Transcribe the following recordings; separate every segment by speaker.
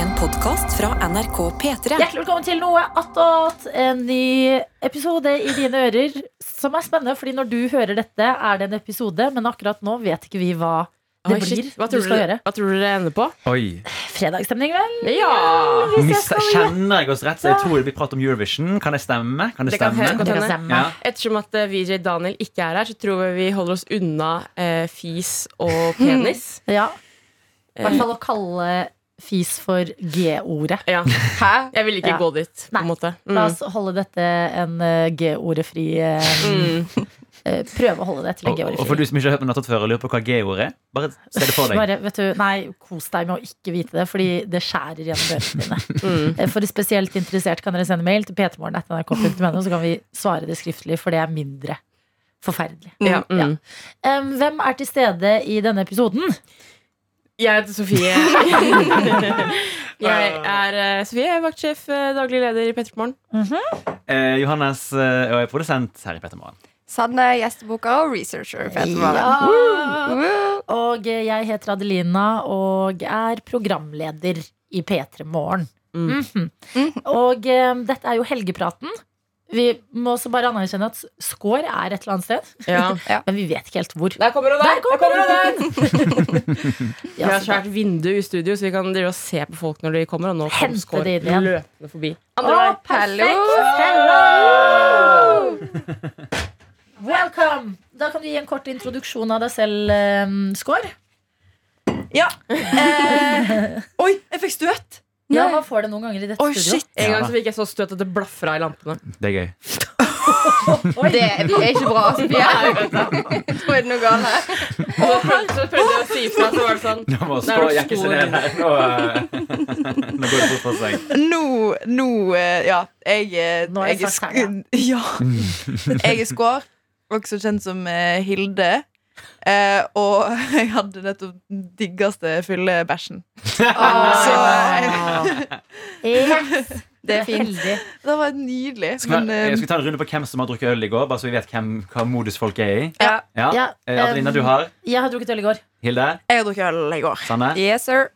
Speaker 1: En podkast fra NRK P3.
Speaker 2: Hjertelig velkommen til noe attåt. En ny episode i dine ører. Som er spennende, fordi når du hører dette, er det en episode, men akkurat nå vet ikke vi hva det
Speaker 3: Oi,
Speaker 2: blir.
Speaker 3: shit. Hva tror,
Speaker 2: du skal
Speaker 3: dere-
Speaker 2: gjøre.
Speaker 3: hva tror dere det ender på?
Speaker 4: Oi.
Speaker 2: Fredagsstemning, vel?
Speaker 3: Ja!
Speaker 2: Hvis jeg
Speaker 4: Mis-
Speaker 2: skal gjette.
Speaker 4: Kjenner jeg oss rett? Jeg tror vi prater om Eurovision. Kan det stemme? Kan det
Speaker 3: Det kan
Speaker 4: stemme?
Speaker 3: helt godt
Speaker 2: Det
Speaker 3: hende.
Speaker 2: stemmer.
Speaker 4: Ja.
Speaker 3: Ettersom at eh, VJ Daniel ikke er her, så tror jeg vi holder oss unna eh, fis og penis.
Speaker 2: Ja. I hvert fall å kalle fis for G-ordet.
Speaker 3: Ja.
Speaker 5: Hæ?
Speaker 3: Jeg vil ikke
Speaker 2: Ja.
Speaker 3: gå dit, på
Speaker 2: Nei.
Speaker 3: en måte. Mm.
Speaker 2: La oss holde dette en eh, G-ordefri eh,
Speaker 3: Mm.
Speaker 2: eh, Prøve å holde det til en
Speaker 4: Og, og for
Speaker 2: G-ordefri.
Speaker 4: du som ikke har hørt på Nattot før og lurer på hva G-ord er, bare se det for deg.
Speaker 2: Bare, vet du, nei, kos deg med å ikke vite det, fordi det skjærer gjennom ørene dine.
Speaker 3: Mm.
Speaker 2: Eh, For spesielt interessert kan dere sende mail til p3morgen.nrk.no, så kan vi svare det skriftlig, for det er mindre forferdelig.
Speaker 3: Ja, mm.
Speaker 2: Em, hvem er til stede i denne episoden?
Speaker 3: Jeg heter Sofie. jeg er eh, Sofie, jeg er vaktsjef, eh, daglig leder i Pettermorgen.
Speaker 4: Eh, Johannes eh, og jeg er produsent her i Petermorgen.
Speaker 5: Sanne, gjesteboka og researcher. for jeg tror det var det. Woo!
Speaker 2: Og eh, jeg heter Adelina og er programleder i P3 Morgen.
Speaker 3: Mm.
Speaker 2: Mhm.
Speaker 5: Mhm.
Speaker 2: Og eh, dette er jo helgepraten. Vi må også bare anerkjenne at Skår er et eller annet sted,
Speaker 3: Ja.
Speaker 2: men vi vet ikke helt hvor.
Speaker 3: Der kommer hun,
Speaker 2: Der
Speaker 3: der!
Speaker 2: kommer
Speaker 3: der kommer hun, der! Vi
Speaker 2: Ja,
Speaker 3: har
Speaker 2: så
Speaker 3: svært vindu i studio, så vi kan drive og se på folk når de kommer. Og nå kom
Speaker 2: Hente
Speaker 3: Skår
Speaker 2: det inn igjen.
Speaker 3: løpende forbi. Andre vei.
Speaker 2: Å, perfekt! Hello! Welcome! Da kan du gi en kort introduksjon av deg selv, um, Skår.
Speaker 5: Ja. Eh, oi, jeg fikk støt!
Speaker 2: Ja,
Speaker 5: Nei.
Speaker 2: man får det noen ganger i dette
Speaker 5: Oi,
Speaker 2: studio.
Speaker 5: shit.
Speaker 3: En gang
Speaker 4: Ja,
Speaker 3: så fikk jeg så støt at det blafra i lampene.
Speaker 4: Det er gøy.
Speaker 2: Oi.
Speaker 5: Det er ikke bra, Sofie. Nå er det noe galt.
Speaker 3: Og så prøvde- så prøvde jeg å si ifra, så var det sånn
Speaker 4: Nå
Speaker 3: Nå
Speaker 4: må
Speaker 3: er
Speaker 4: Skå
Speaker 3: det
Speaker 4: jekke seg
Speaker 3: stor.
Speaker 4: ned her. Nå, eh, nå går det fort for seg.
Speaker 5: Nå, nå eh, Ja, jeg, eh,
Speaker 2: Nå er jeg
Speaker 5: jeg er
Speaker 2: satt
Speaker 5: sk-
Speaker 2: her,
Speaker 5: Ja. Jeg er Skår, også kjent som eh, Hilde. Eh, og jeg hadde nettopp den diggeste fyllebæsjen. Så eh,
Speaker 2: Yes.
Speaker 5: det er fint.
Speaker 2: Heldig.
Speaker 5: Det var nydelig.
Speaker 4: Skal
Speaker 5: Men
Speaker 4: vi,
Speaker 5: eh,
Speaker 4: jeg skal ta en runde på hvem som har drukket øl i går, bare så vi vet hvem, hva modus folk er i.
Speaker 5: Ja.
Speaker 4: Ja.
Speaker 2: Ja,
Speaker 4: Eh, Adelina,
Speaker 2: um,
Speaker 4: du har.
Speaker 2: Jeg har drukket øl i går.
Speaker 4: Hilde.
Speaker 5: jeg har drukket øl i går.
Speaker 4: Sanne.
Speaker 5: Yes, sir.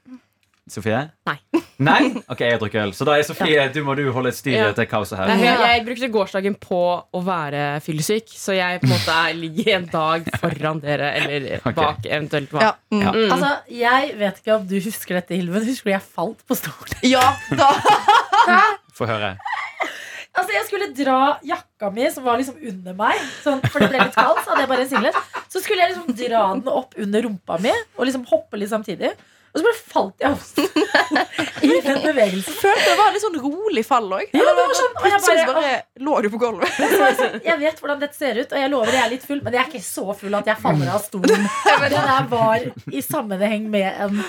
Speaker 4: Sofie?
Speaker 3: Nei.
Speaker 4: Nei? Ok, jeg drikker øl. Så da er Sofie, du må du holde et styr i
Speaker 3: Ja.
Speaker 4: dette kaoset
Speaker 3: Nei,
Speaker 4: her.
Speaker 3: Jeg, jeg brukte gårsdagen på å være fyllesyk, så jeg på en måte er- ligger en dag foran dere, eller
Speaker 4: Ok.
Speaker 3: bak eventuelt hva.
Speaker 5: Ja. Mm.
Speaker 4: Ja.
Speaker 3: Mm.
Speaker 2: Altså, Jeg vet ikke om du husker dette, Hilven. Husker du jeg falt på stolen?
Speaker 5: Ja, da
Speaker 4: Få høre.
Speaker 2: Altså, Jeg skulle dra jakka mi, som var liksom under meg, sånn, for det ble litt kaldt. Så hadde jeg bare en singlet Så skulle jeg liksom dra den opp under rumpa mi og liksom hoppe litt samtidig. Og så bare falt jeg av stolen i den bevegelsen.
Speaker 5: følte det var litt sånn rolig fall òg.
Speaker 2: Ja, det var sånn, og jeg
Speaker 5: Plutselig
Speaker 2: bare,
Speaker 5: bare lå du på gulvet.
Speaker 2: Så jeg sånn, Jeg vet hvordan dette ser ut, og jeg lover jeg er litt full, men jeg er ikke så full at jeg faller av stolen. Det der var i sammenheng med en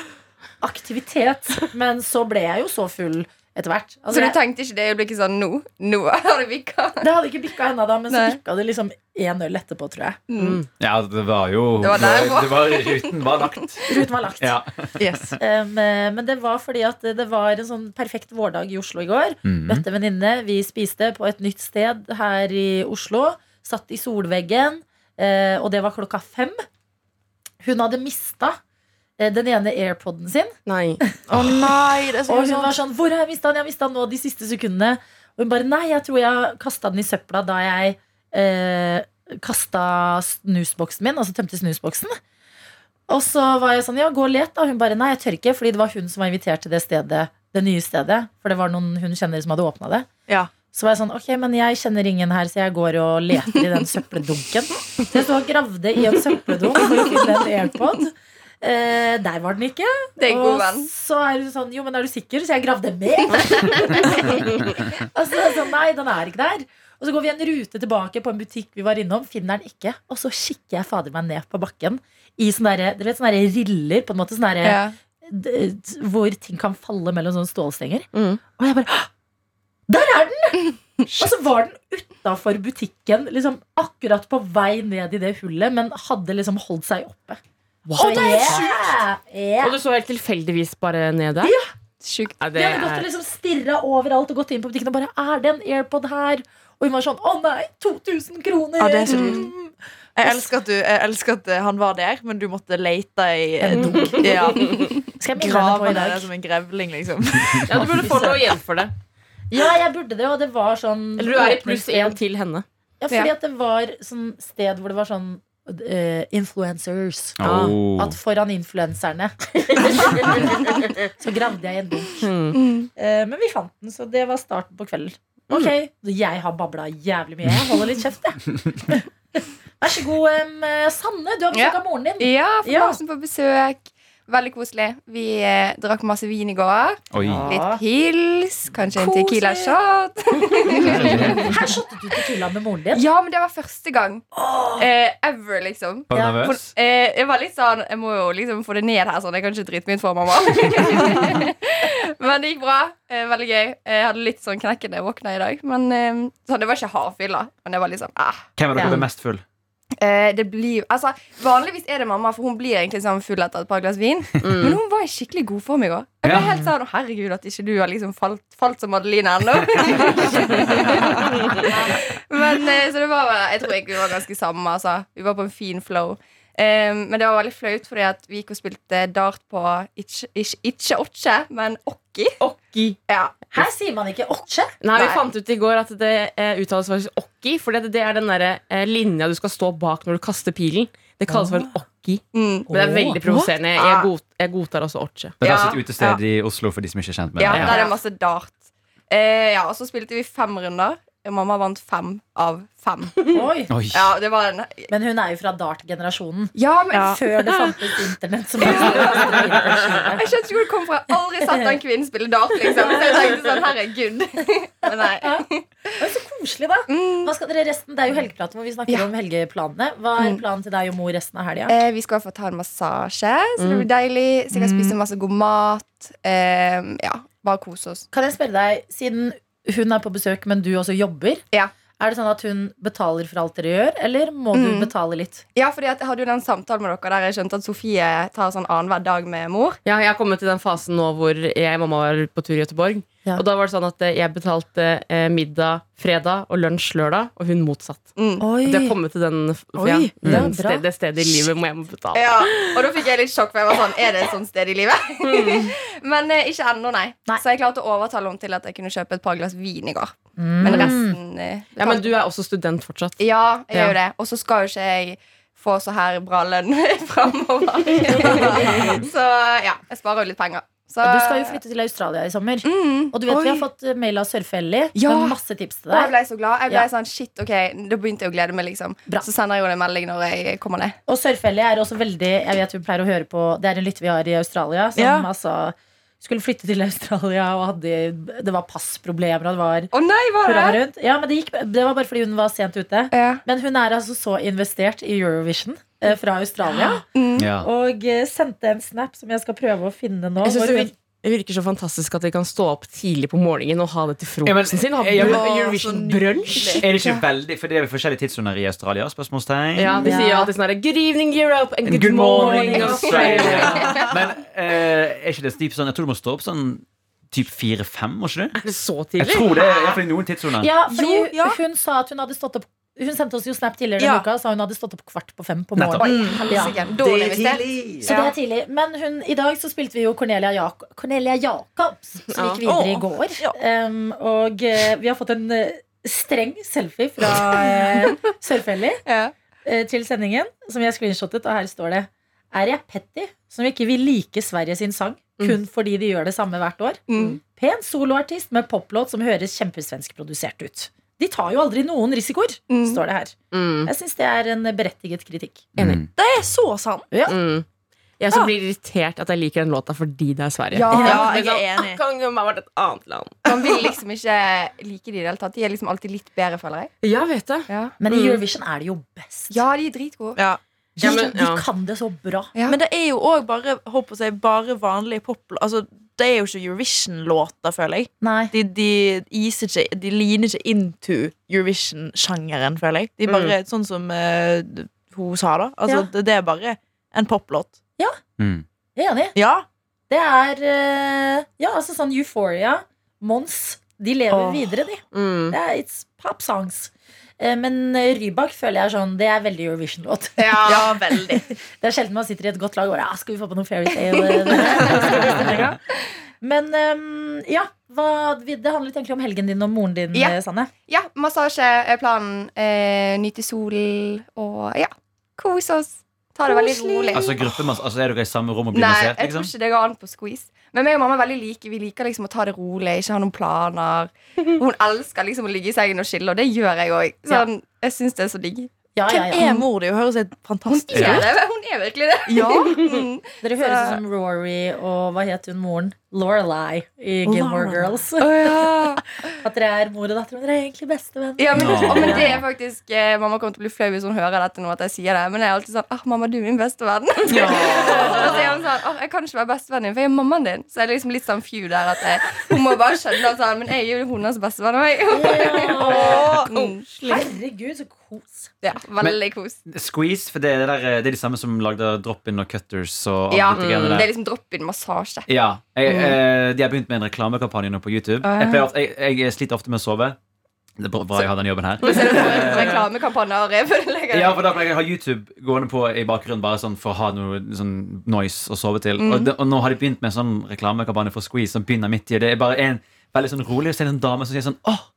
Speaker 2: aktivitet, men så ble jeg jo så full etter hvert. Altså,
Speaker 5: Så du
Speaker 2: jeg-
Speaker 5: tenkte ikke det øyeblikket sånn nå? Nå har det vikka.
Speaker 2: det hadde ikke bikka ennå, da, men så
Speaker 5: Nei.
Speaker 2: bikka det liksom én øl etterpå, tror jeg.
Speaker 5: Mm.
Speaker 4: Ja, det var jo
Speaker 5: Det var der det var.
Speaker 4: det var Ruten var lagt.
Speaker 2: Ruten var lagt.
Speaker 4: Ja.
Speaker 5: Yes.
Speaker 2: Um, eh, men det var fordi at det var en sånn perfekt vårdag i Oslo i går. Møtte en venninne, vi spiste på et nytt sted her i Oslo. Satt i solveggen, eh, og det var klokka fem. Hun hadde mista eh, den ene airpoden sin.
Speaker 3: Nei.
Speaker 5: Å nei, det er så
Speaker 2: Og hun
Speaker 5: sånn.
Speaker 2: var sånn Hvor har jeg mista den? Jeg har mista den nå de siste sekundene. Og hun bare Nei, jeg tror jeg kasta den i søpla da jeg eh, kasta snusboksen min. Altså tømte snusboksen. Og så var jeg sånn Ja, gå og let, da. Hun bare Nei, jeg tør ikke, fordi det var hun som var invitert til det stedet. Det nye stedet. For det var noen hun kjenner som hadde åpna det.
Speaker 5: Ja.
Speaker 2: Så var jeg sånn, ok, men jeg kjenner ingen her, så jeg går og leter i den søppeldunken. Så jeg stod og gravde i en søppeldunk for å finne en airpod. Eh, der var den ikke.
Speaker 5: Det er en god venn.
Speaker 2: Og så er hun sånn, jo, men er du sikker? Så jeg gravde mer. og så er jeg sånn, nei, den er ikke der. Og så går vi en rute tilbake på en butikk vi var innom, finner den ikke. Og så kikker jeg fader meg ned på bakken i sånne, der, dere vet, sånne der riller, på en måte, sånne der,
Speaker 5: Ja.
Speaker 2: d- d- hvor ting kan falle mellom sånne stålstenger.
Speaker 3: Mm.
Speaker 2: Og jeg bare «Hå! Der er den! Og så var den utafor butikken, liksom akkurat på vei ned i det hullet, men hadde liksom holdt seg oppe.
Speaker 3: Wow.
Speaker 2: Og det er sjukt!
Speaker 3: Og du så helt tilfeldigvis bare ned der? Ja.
Speaker 5: sjukt.
Speaker 3: Ja,
Speaker 2: Vi
Speaker 3: det
Speaker 2: hadde gått og
Speaker 3: er
Speaker 2: liksom stirra overalt og gått inn på butikken og bare Er det en AirPod her? Og hun var sånn Å nei, 2000 kroner!
Speaker 5: Ja, det er så dyrt.
Speaker 2: Mm.
Speaker 5: Jeg elsker at, du, jeg elsker at eh, han var der, men du måtte lete i
Speaker 2: En dunk.
Speaker 5: ja,
Speaker 2: Skal jeg minne henne på
Speaker 5: gravene
Speaker 2: i
Speaker 5: der
Speaker 2: dag?
Speaker 3: altså.
Speaker 5: som en grevling, liksom.
Speaker 3: Ja, du burde få noe igjen for det.
Speaker 2: Ja, jeg burde det, og det var sånn
Speaker 3: Eller du er i pluss én til henne.
Speaker 2: Ja, fordi at det var sånn sted hvor det var sånn eh, influencers.
Speaker 4: Oh.
Speaker 2: Ah, At foran influenserne Så gravde jeg i en bok
Speaker 3: Hmm.
Speaker 2: Eh, Men vi fant den, så det var starten på kvelden Ok, så jeg har babla jævlig mye Jeg holder litt kjeft, jeg Vær så god, em, eh, Sanne Du har besøk av moren din
Speaker 6: Ja, for
Speaker 2: Ja.
Speaker 6: Larsen på besøk. Veldig koselig. Vi eh, drakk masse vin i går.
Speaker 4: Oi.
Speaker 6: Litt pils, kanskje en
Speaker 2: Koselig.
Speaker 6: Tequila shot.
Speaker 2: Her shottet du tequila med moren din
Speaker 6: Ja, men det var første gang. Eh, ever, liksom.
Speaker 4: Var du
Speaker 2: Ja.
Speaker 6: For,
Speaker 4: nervøs?
Speaker 6: eh, jeg var litt sånn Jeg må jo liksom få det ned her, sånn. Jeg kan ikke drite meg ut for mamma. men det gikk bra. Eh, veldig gøy. Jeg hadde litt sånn knekken da jeg våkna i dag. Men eh, sånn, det var ikke hardfylla. Men det var liksom eh.
Speaker 4: Hvem av dere
Speaker 2: Ja.
Speaker 4: ble mest full?
Speaker 6: Eh, det blir, altså, vanligvis er det mamma, for hun blir egentlig sånn full etter et par glass vin. Men hun var i skikkelig god form i går. Jeg ble
Speaker 4: Ja.
Speaker 6: helt sånn, Herregud, at ikke du har liksom falt, falt som Adeline ennå. men eh, så det var Jeg tror egentlig vi var ganske samme. Altså. Vi var på en fin flow. Eh, men det var veldig flaut, fordi at vi gikk og spilte dart på ikke ikke- ikke åtte, men åkki.
Speaker 3: Okki.
Speaker 6: Ja.
Speaker 2: Her sier man ikke åkje
Speaker 3: Nei, vi
Speaker 6: Nei.
Speaker 3: fant ut i går at det eh, uttales faktisk okki, for det, det er den derre eh, linja du skal stå bak når du kaster pilen. Det kalles for en okki.
Speaker 6: Mm.
Speaker 3: Men det er
Speaker 2: Åh.
Speaker 3: veldig provoserende. Jeg,
Speaker 6: Ah.
Speaker 3: god, jeg godtar også orche.
Speaker 4: Det er
Speaker 6: Ja.
Speaker 4: altså et utested i Oslo for de som ikke er kjent med
Speaker 6: Ja,
Speaker 4: det.
Speaker 6: der er masse dart. Eh, ja, og så spilte vi fem runder. Mamma vant fem av fem.
Speaker 2: Oi.
Speaker 4: Oi.
Speaker 6: Ja, det var en
Speaker 2: Men hun er jo fra dart-generasjonen
Speaker 6: Ja, men
Speaker 2: Før det fantes internett som var
Speaker 6: Jeg skjønte ikke hvor det kom fra. Jeg har aldri sett en kvinne spille dart, liksom. Så jeg tenkte sånn, herregud. Men nei.
Speaker 2: Oi, så koselig da
Speaker 6: Mm.
Speaker 2: Hva skal dere resten? Det er jo helgepraten hvor vi snakker
Speaker 6: Ja. Mm.
Speaker 2: om helgeplanene. Hva er planen til deg og mor resten av helga?
Speaker 6: Eh, vi skal i hvert fall ta en massasje, så
Speaker 2: Mm.
Speaker 6: det blir deilig. Så jeg kan spise masse god mat. Eh, ja, bare kose oss.
Speaker 2: Kan jeg spørre deg, siden hun er på besøk, men du også jobber,
Speaker 6: Ja.
Speaker 2: er det sånn at hun betaler for alt dere gjør, eller må du
Speaker 6: Mm.
Speaker 2: betale litt?
Speaker 6: Ja, fordi at jeg hadde jo den samtalen med dere der jeg skjønte at Sofie tar sånn annenhver dag med mor.
Speaker 3: Ja, jeg har kommet til den fasen nå hvor jeg og mamma var på tur i Göteborg.
Speaker 2: Ja.
Speaker 3: Og da var det sånn at eh, jeg betalte eh, middag fredag og lunsj lørdag, og hun motsatt.
Speaker 6: Mm.
Speaker 2: Oi.
Speaker 3: Det har kommet til den, f-
Speaker 2: Eh. Oi,
Speaker 3: ja,
Speaker 2: det er
Speaker 3: den
Speaker 2: bra.
Speaker 3: sted, det stedet i livet hvor jeg må betale.
Speaker 6: Ja, Og da fikk jeg litt sjokk, for jeg var sånn Er det et sånt sted i livet? Men eh, ikke ennå, nei.
Speaker 2: Mm. Nei.
Speaker 6: Så jeg klarte å overtale henne til at jeg kunne kjøpe et par glass vin i går.
Speaker 2: Mm.
Speaker 6: Men resten eh,
Speaker 3: Ja, men du er også student fortsatt.
Speaker 6: Ja, jeg
Speaker 3: Ja.
Speaker 6: gjør det. Og så skal jo ikke jeg få så her bra lønn framover. så ja, jeg sparer jo litt penger. Så,
Speaker 2: Du skal jo flytte til Australia i sommer.
Speaker 6: Mm.
Speaker 2: Og du vet vi har
Speaker 6: Oi.
Speaker 2: fått eh, mail av Sørfe-Elli
Speaker 6: Ja.
Speaker 2: med masse tips til
Speaker 6: Og
Speaker 2: deg.
Speaker 6: jeg ble så glad. Jeg ble
Speaker 2: Ja.
Speaker 6: sånn, shit, ok, Da begynte jeg å glede meg, liksom.
Speaker 2: Bra.
Speaker 6: Så sender jeg jo en melding når jeg kommer ned.
Speaker 2: Og Sørfe-Elli er også veldig Jeg vet hun pleier å høre på Det er en lytter vi har i Australia, som
Speaker 5: Ja.
Speaker 2: altså skulle flytte til Australia, og hadde, det var passproblemer, og det var
Speaker 6: Å nei, var
Speaker 2: hurra
Speaker 6: det?
Speaker 2: rundt. Ja, men det, gikk, det var bare fordi hun var sent ute.
Speaker 6: Ja.
Speaker 2: Men hun er altså så investert i Eurovision eh, fra Australia.
Speaker 4: Ja.
Speaker 2: Og eh, sendte en snap som jeg skal prøve å finne nå.
Speaker 3: Jeg synes
Speaker 2: hvor
Speaker 3: det
Speaker 2: hun-
Speaker 3: virker, det virker så fantastisk at de kan stå opp tidlig på morgenen og ha det til
Speaker 4: Ja, men-
Speaker 3: frokosten sin. Ha
Speaker 4: Ja, men-
Speaker 3: brø-
Speaker 4: sånn
Speaker 3: Eurovision-brunsj.
Speaker 4: Er det ikke veldig For det er vel forskjellige tidssoner i Australia? Spørsmålstegn?
Speaker 3: Ja, de
Speaker 2: Ja.
Speaker 3: sier jo alltid sånn her Good evening Europe and
Speaker 4: And
Speaker 3: good, morning, Australia.
Speaker 4: Men eh, er ikke det typ sånn Jeg tror du må stå opp sånn typ fire-fem, må ikke du?
Speaker 3: Er det så
Speaker 4: Jeg
Speaker 3: tidlig?
Speaker 4: tror det er i hvert fall i noen tidssoner.
Speaker 2: ja, fordi
Speaker 5: Jo, ja.
Speaker 2: hun- Hun sa at hun hadde stått opp Hun sendte oss jo snap tidligere
Speaker 5: Ja.
Speaker 2: denne uka og sa hun hadde stått opp kvart på fem på
Speaker 4: Nettopp.
Speaker 2: morgenen. Ja.
Speaker 6: Helsike. Dårlig investert.
Speaker 2: Så det er tidlig. Men hun, i dag så spilte vi jo Cornelia, Jak Cornelia Jacobs, som
Speaker 3: Ja.
Speaker 2: gikk videre i
Speaker 5: Åh.
Speaker 2: går.
Speaker 5: Ja.
Speaker 2: Um, og eh, vi har fått en eh, streng selfie fra uh, Sørfelli.
Speaker 6: Ja.
Speaker 2: eh, til sendingen, som jeg screenshottet, og her står det Er jeg petty som ikke vil like Sverige sin sang, kun fordi de gjør det samme hvert år?
Speaker 6: Mm.
Speaker 2: Pen soloartist med poplåt som høres kjempesvenskprodusert ut. De tar jo aldri noen risikoer,
Speaker 6: Mm.
Speaker 2: står det her.
Speaker 3: Mm,
Speaker 2: Jeg syns det er en berettiget kritikk.
Speaker 4: Mm.
Speaker 5: Det er så sant!
Speaker 3: mm. Jeg som blir irritert at jeg liker den låta fordi det er Sverige.
Speaker 6: Ja,
Speaker 5: jeg er enig.
Speaker 3: ah, Kan jo ha vært et annet land.
Speaker 6: Man vil liksom ikke like de i det hele tatt. De er liksom alltid litt bedre, føler jeg.
Speaker 3: Ja, vet det.
Speaker 6: Ja,
Speaker 2: Men i
Speaker 3: Mm.
Speaker 2: Eurovision er det jo best.
Speaker 6: ja de er dritgode.
Speaker 5: Ja.
Speaker 2: De,
Speaker 3: Ja, men-
Speaker 2: de
Speaker 3: ja.
Speaker 2: kan det så bra.
Speaker 6: Ja.
Speaker 5: Men det er jo òg bare, holdt på å si, bare vanlige pop... Altså, det er jo ikke Eurovision-låter, føler jeg.
Speaker 2: Nei.
Speaker 5: De, de, iser ikke, de liner ikke into Eurovision-sjangeren, føler jeg. De er bare sånn som eh, hun sa, da. Altså,
Speaker 2: Ja.
Speaker 5: det, det er bare en poplåt.
Speaker 4: Mm.
Speaker 2: Jeg er enig.
Speaker 5: Ja.
Speaker 2: Det er eh, Ja, altså sånn Euphoria, Mons, de lever
Speaker 3: Åh.
Speaker 2: videre, de.
Speaker 3: Mm.
Speaker 2: Det er, it's pop songs. Eh, Men eh, Rybak føler jeg er sånn Det er veldig Eurovision-låt.
Speaker 5: Ja, veldig.
Speaker 2: Det er sjelden man sitter i et godt lag og bare ja, Skal vi få på noe fairytale? Men ehm, ja. Hva, vi- det handlet egentlig om helgen din og moren din,
Speaker 6: Ja.
Speaker 2: eh, Sanne.
Speaker 6: Ja, massasje er planen. Eh, nyte sol og ja, kose oss. Ta det veldig
Speaker 2: Koselig.
Speaker 6: rolig.
Speaker 4: Altså, gruppemass- altså Er dere i samme rom og blir
Speaker 6: Nei,
Speaker 4: massert?
Speaker 6: jeg
Speaker 4: liksom?
Speaker 6: tror ikke det går an på squeeze. Men meg og mamma er veldig like. Vi liker liksom å ta det rolig, ikke ha noen planer. Hun elsker liksom å ligge i sengen og chille, og det gjør jeg òg. Sånn, jeg syns det er så digg.
Speaker 2: Ja, ja,
Speaker 5: Hvem
Speaker 2: ja.
Speaker 5: er mor di? Hun høres helt fantastisk
Speaker 6: Ja,
Speaker 4: Ja.
Speaker 6: det er- hun er virkelig det.
Speaker 5: Ja.
Speaker 6: Mm.
Speaker 2: Dere høres ut som Rory og hva het hun moren? Lorelei i Gilmore
Speaker 5: Lorelei.
Speaker 2: Girls.
Speaker 6: Å, ja.
Speaker 2: At dere er mor og datter, men dere er egentlig bestevenn.
Speaker 6: Ja, men,
Speaker 4: Åh.
Speaker 6: å, men det er faktisk eh, Mamma kommer til å bli flau hvis hun hører dette nå, at jeg sier det. Men jeg er alltid sånn ah, 'Mamma, du er min bestevenn'. Og så er hun sånn, «Åh, jeg kan ikke være bestevennen din, for jeg er mammaen din. Så jeg er liksom litt sånn few der at jeg, hun må bare skjønne at sånn, men jeg er jo hennes bestevenn. og jeg».
Speaker 2: Ja.
Speaker 6: Mm.
Speaker 2: Herregud, så kos.
Speaker 6: Ja, veldig kos.
Speaker 4: Squeeze, for det er, det der, eh, det er de samme som lagde drop-in og cutters og alt
Speaker 6: Ja,
Speaker 4: dette greiene
Speaker 6: det
Speaker 4: der.
Speaker 6: er Mm. liksom drop-in-massasje.
Speaker 4: Ja, jeg, eh, De har begynt med en reklamekampanje nå på YouTube. Jeg, pleier, at- jeg, jeg sliter ofte med å sove. Det er bra- bra jeg har den jobben her.
Speaker 6: Så er det sånn Reklamekampanje og revelegger.
Speaker 4: Ja, for da pleier jeg å ha YouTube gående på i bakgrunnen bare sånn for å ha noe sånn noise å sove til.
Speaker 6: Mm.
Speaker 4: Og, det- og nå har de begynt med en sånn reklamekampanje for Squeeze som begynner midt i. og Det er bare en veldig sånn rolig og så er det en dame som sier sånn Åh,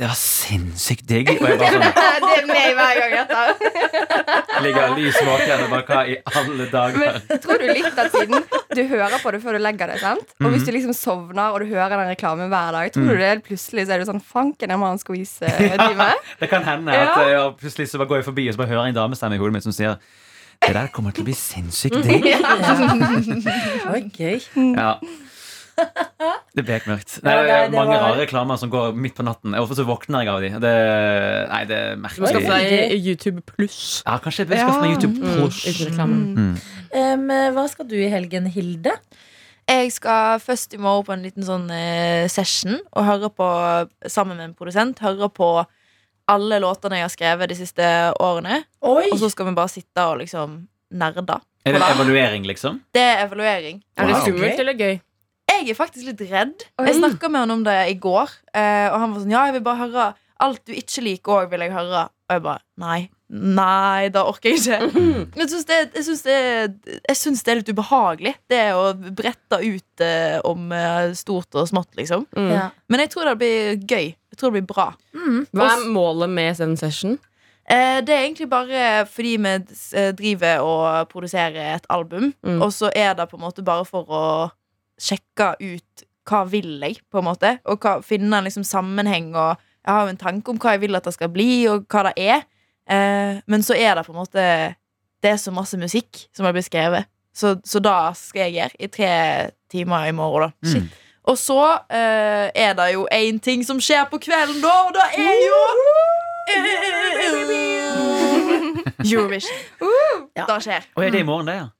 Speaker 4: det var sinnssykt digg. Og jeg bare sånn,
Speaker 6: Det er meg hver gang etter.
Speaker 4: ligger lys våken og bare hva i alle dager.
Speaker 6: Men tror du litt av tiden du hører på det før du legger deg, sant? Og hvis du liksom sovner og du hører den reklamen hver dag, tror du det helt plutselig så er du sånn Fanken, jeg må ha en squeeze-time.
Speaker 4: Det kan hende at
Speaker 6: Ja.
Speaker 4: jeg plutselig så bare går jeg forbi og så bare hører jeg en damestemme i hodet mitt som sier det der kommer til å bli sinnssykt digg.
Speaker 2: Det var gøy.
Speaker 4: Ja. Det ble mørkt. Nei,
Speaker 2: Ja,
Speaker 4: det
Speaker 2: nei,
Speaker 4: er
Speaker 2: det
Speaker 4: mange
Speaker 2: var-
Speaker 4: rare reklamer som går midt på natten. Ofte så våkner jeg av de. Det, nei, det er
Speaker 3: Du må
Speaker 4: merkelig.
Speaker 3: skaffe deg YouTube pluss.
Speaker 4: Ja, kanskje jeg bør skaffe meg YouTube
Speaker 3: Mm,
Speaker 4: Plus.
Speaker 3: ikke reklame.
Speaker 2: Em, hva skal du i helgen, Hilde?
Speaker 5: Jeg skal først i morgen på en liten sånn eh, session og høre på, sammen med en produsent, høre på alle låtene jeg har skrevet de siste årene.
Speaker 2: Oi!
Speaker 5: Og så skal vi bare sitte og liksom nerde.
Speaker 4: Er det en evaluering, liksom?
Speaker 5: Det er evaluering.
Speaker 3: Er det
Speaker 4: Wow.
Speaker 3: skummelt eller gøy?
Speaker 5: Jeg er faktisk litt redd. Jeg snakka med han om det i går, eh, og han var sånn Ja, jeg vil bare høre alt du ikke liker òg, vil jeg høre. Og jeg bare Nei. Nei, da orker jeg ikke. Jeg syns det, jeg synes det, jeg synes det er litt ubehagelig, det å brette ut eh, om eh, stort og smått, liksom.
Speaker 3: Mm.
Speaker 2: Ja.
Speaker 5: Men jeg tror det blir gøy. Jeg tror det blir bra.
Speaker 3: Hva er målet med den session?
Speaker 5: Eh, det er egentlig bare fordi vi eh, driver og produserer et album,
Speaker 3: Mm.
Speaker 5: og så er det på en måte bare for å sjekke ut hva vil jeg, på en måte, og hva, finne en liksom sammenheng og Jeg har jo en tanke om hva jeg vil at det skal bli, og hva det er, eh, men så er det på en måte Det er så masse musikk som har blitt skrevet, så, så da skal jeg gjøre i tre timer i morgen, da.
Speaker 4: Shit.
Speaker 5: Og så eh, er det jo én ting som skjer på kvelden, da, og det er jo Eurovision.
Speaker 2: Ja.
Speaker 5: Det skjer.
Speaker 4: Å, er det i morgen, det, ja?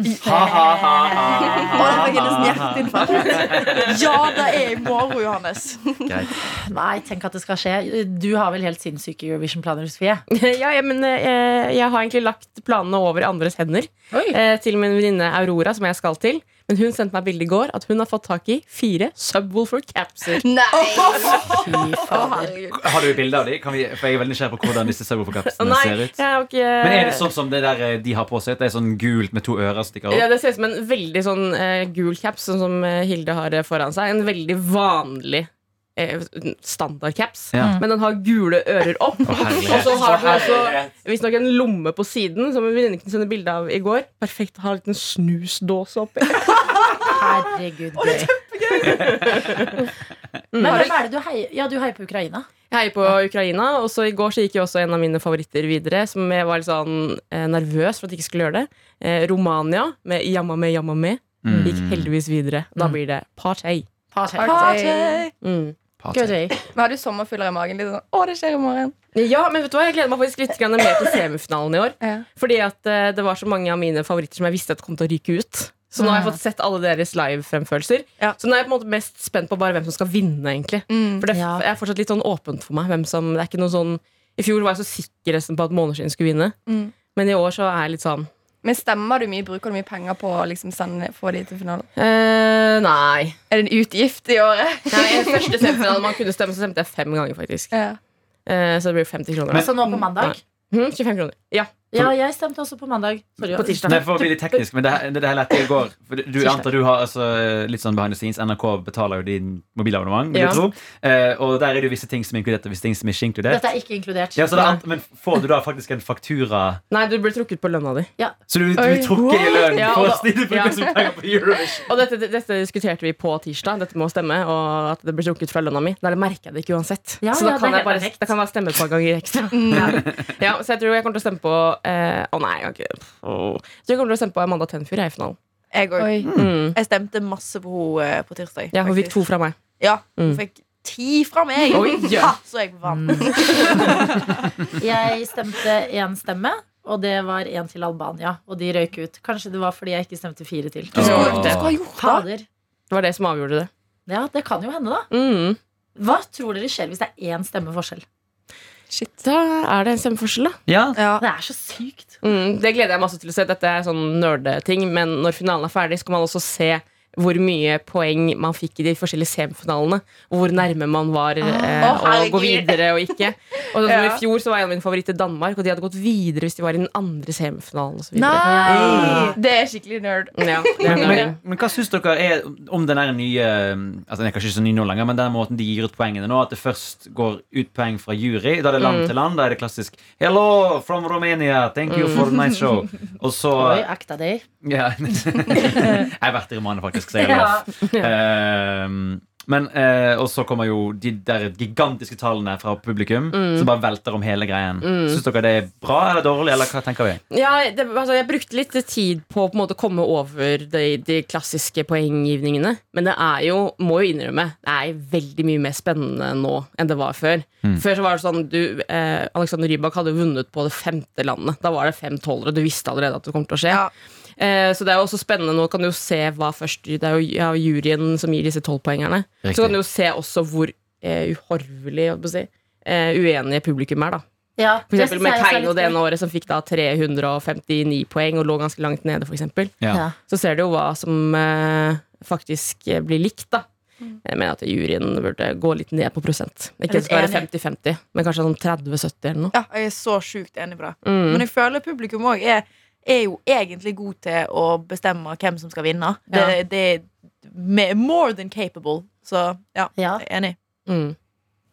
Speaker 4: Ha, ha, ha, ha,
Speaker 3: Ah.
Speaker 5: Å, da fikk jeg nesten
Speaker 4: ha, ha.
Speaker 5: hjerteinfarkt. Ja, det er i morgen, Johannes.
Speaker 4: Greit.
Speaker 2: Nei, tenk at det skal skje. Du har vel helt sinnssyke Eurovision-planer, Sofie?
Speaker 3: ja, ja, men eh, jeg har egentlig lagt planene over i andres hender.
Speaker 2: Oi.
Speaker 3: Eh, til min venninne Aurora, som jeg skal til. Men hun sendte meg bilde i går at hun har fått tak i fire Subwoolfer capser.
Speaker 6: Nei!
Speaker 2: Fy
Speaker 6: Å,
Speaker 2: fader.
Speaker 6: herregud.
Speaker 4: Har du bilde av de? Kan vi, for jeg er veldig nysgjerrig på hvordan disse
Speaker 3: Å,
Speaker 4: servoforkapslene
Speaker 3: nei,
Speaker 4: ser ut.
Speaker 3: jeg har ikke
Speaker 4: Men er det sånn som det der eh, de har på seg? At det er sånn gult med to ører som stikker
Speaker 3: Ja,
Speaker 4: opp?
Speaker 3: det ser ut som en veldig sånn eh, gul caps, sånn som eh, Hilde har eh, foran seg. En veldig vanlig eh, standard caps.
Speaker 4: Ja.
Speaker 3: Men den har gule ører opp.
Speaker 4: Å, herlighet.
Speaker 3: og så har den også visstnok en lomme på siden, som en venninne kunne sende bilde av i går. Perfekt å ha en liten snusdåse oppi.
Speaker 2: Herregud, gøy. Men hvem er det du heier Ja, du heier på Ukraina.
Speaker 3: Jeg heier på Ukraina, og så i går så gikk jo også en av mine favoritter videre, som jeg var litt sånn eh, nervøs for at jeg ikke skulle gjøre det. Eh, Romania med Jamame Jamame
Speaker 4: Mm.
Speaker 3: gikk heldigvis videre. Da blir det party.
Speaker 5: Party.
Speaker 3: Mm.
Speaker 4: Party.
Speaker 2: Gøy.
Speaker 6: Men har du sommerfugler i magen? Litt sånn, å, det skjer i morgen.
Speaker 3: Ja, men vet du hva, jeg gleder meg faktisk litt grann mer til semifinalen i år.
Speaker 6: Ja.
Speaker 3: Fordi at eh, det var så mange av mine favoritter som jeg visste at kom til å ryke ut. Så nå har jeg fått sett alle deres live-fremførelser.
Speaker 5: Ja.
Speaker 3: Så nå er jeg på en måte mest spent på bare hvem som skal vinne, egentlig.
Speaker 6: Mm.
Speaker 3: For det
Speaker 2: Ja.
Speaker 3: f- er fortsatt litt sånn åpent for meg. Hvem som, det er ikke noe sånn I fjor var jeg så sikker nesten på at Måneskinn skulle vinne.
Speaker 6: Mm.
Speaker 3: Men i år så er jeg litt sånn
Speaker 6: Men stemmer du mye? Bruker du mye penger på å liksom sende, få de til finalen?
Speaker 3: Eh, nei.
Speaker 6: Er det en utgift i året?
Speaker 3: nei I den første semifinalen man kunne stemme, så stemte jeg fem ganger, faktisk.
Speaker 6: Ja.
Speaker 3: Eh, så det blir 50 kroner. da.
Speaker 2: Altså nå på mandag?
Speaker 3: Mhm, 25 kroner. Ja.
Speaker 2: Ja, jeg stemte også på mandag. Sorry.
Speaker 3: På tirsdag.
Speaker 4: Nei, for å bli litt teknisk, men det, her- det her lette jeg i går. For du- du
Speaker 3: Tirsdag.
Speaker 4: antar du har altså, litt sånn behind the scenes. NRK betaler jo din mobilabonnement, vil
Speaker 3: Ja.
Speaker 4: jeg tro. Eh, og der er det jo visse ting som er inkludert, og visse ting som ikke er inkludert.
Speaker 2: Dette er ikke inkludert.
Speaker 4: Ja, så det er ant- men får du da faktisk en faktura
Speaker 3: Nei, du blir trukket på lønna di.
Speaker 4: Så du, du
Speaker 6: Oi.
Speaker 4: trukker i lønn
Speaker 3: Ja,
Speaker 4: for
Speaker 3: og
Speaker 4: å snitte bruker så mye penger på Eurovision?
Speaker 3: Og dette, dette diskuterte vi på tirsdag, dette med å stemme, og at det ble trukket fra lønna mi. Der merker jeg det ikke uansett.
Speaker 2: Ja,
Speaker 3: så
Speaker 2: ja, det er
Speaker 3: da kan jeg
Speaker 2: helt
Speaker 3: bare,
Speaker 2: perfekt.
Speaker 3: da kan jeg bare stemme et par ganger ekstra. ja, så jeg tror jeg kommer til å stemme på eh, Å nei, jeg kan ikke Åh. Jeg tror jeg kommer til å stemme på Amanda Tenfjord jeg, i finalen.
Speaker 5: Jeg òg.
Speaker 6: Oi.
Speaker 3: Mm.
Speaker 5: Jeg stemte masse på henne på tirsdag.
Speaker 3: Ja, hun fikk
Speaker 5: faktisk.
Speaker 3: to fra meg.
Speaker 5: Ja,
Speaker 3: Mm.
Speaker 5: hun fikk ti fra meg!
Speaker 3: Oi, ja. Mm,
Speaker 5: Ha, så jeg vant.
Speaker 2: Jeg stemte én stemme, og det var én til Albania. Og de røyk ut. Kanskje det var fordi jeg ikke stemte fire til.
Speaker 4: Du skulle-
Speaker 5: du skulle ha gjort det.
Speaker 2: Fader.
Speaker 3: Det var det som avgjorde det.
Speaker 2: Ja, det kan jo hende, da.
Speaker 3: Mm.
Speaker 2: Hva tror dere skjer hvis det er én stemme forskjell?
Speaker 3: Da er det en stemmeforskjell, da.
Speaker 4: Ja.
Speaker 5: Ja.
Speaker 2: Det er så sykt.
Speaker 3: Mm, det gleder jeg masse til å se. Dette er sånn nerdeting, men når finalen er ferdig, skal man også se hvor mye poeng man fikk i de forskjellige semifinalene. Og hvor nærme man var eh,
Speaker 5: Å,
Speaker 3: å gå
Speaker 5: herregud.
Speaker 3: videre og ikke. Og sånn som
Speaker 5: Ja.
Speaker 3: I fjor så var en av mine favoritter Danmark, og de hadde gått videre hvis de var i den andre semifinalen. Og så videre. Mm,
Speaker 5: Nei!
Speaker 6: Det er skikkelig nerd.
Speaker 3: Ja, det er
Speaker 4: Men, men,
Speaker 3: nerding.
Speaker 4: men hva syns dere er om den der nye Altså den er kanskje ikke så ny nå lenger, men den måten de gir ut poengene nå, at det først går ut poeng fra jury, da er det
Speaker 3: Mm.
Speaker 4: land til land, da er det klassisk 'Hello from Romania, thank you for the nice show',
Speaker 3: Mm.
Speaker 4: og så
Speaker 2: Oi, acta day.
Speaker 4: Ja. jeg har vært i romanen, faktisk, så jeg er lov. Ehm, men, eh, og så kommer jo de der gigantiske tallene fra publikum
Speaker 3: Mm.
Speaker 4: som bare velter om hele greien. Syns dere det er bra eller dårlig, eller hva tenker vi?
Speaker 3: ja, det, altså, jeg brukte litt tid på å på en måte komme over de, de klassiske poenggivningene. Men det er jo, må jo innrømme, det er veldig mye mer spennende nå enn det var før. Før så var det sånn du, eh, Alexander Rybak hadde jo vunnet på det femte landet. Da var det fem tolvere, og du visste allerede at det kom til å skje.
Speaker 5: Ja.
Speaker 3: Eh, så det er jo også spennende. Nå kan du jo se hva først Det er jo ja, juryen som gir disse tolvpoengerne.
Speaker 4: Riktig.
Speaker 3: Så kan du jo se også hvor eh, uhorvelig holdt på å si, eh, uenige publikum er, da.
Speaker 2: Ja,
Speaker 3: For
Speaker 2: det
Speaker 3: eksempel
Speaker 2: synes
Speaker 3: med
Speaker 2: jeg også er
Speaker 3: Keiino
Speaker 2: litt
Speaker 3: det ene
Speaker 2: gøy.
Speaker 3: året som fikk da 359 poeng og lå ganske langt nede, for eksempel.
Speaker 2: Ja.
Speaker 3: Så ser du jo hva som eh, faktisk eh, blir likt, da.
Speaker 2: Mm.
Speaker 3: Jeg mener at juryen burde gå litt ned på prosent. Ikke at
Speaker 5: Jeg er
Speaker 3: det skal være
Speaker 5: enig.
Speaker 3: 50-50, men kanskje sånn 30-70 eller noe.
Speaker 5: Ja, jeg er så sjukt enig på det.
Speaker 3: Mm.
Speaker 5: Men jeg føler publikum òg er, er jo egentlig god til å bestemme hvem som skal vinne. Det,
Speaker 3: Ja.
Speaker 5: det er me- more than capable. Så ja,
Speaker 2: Ja,
Speaker 5: jeg er enig.
Speaker 3: Mm.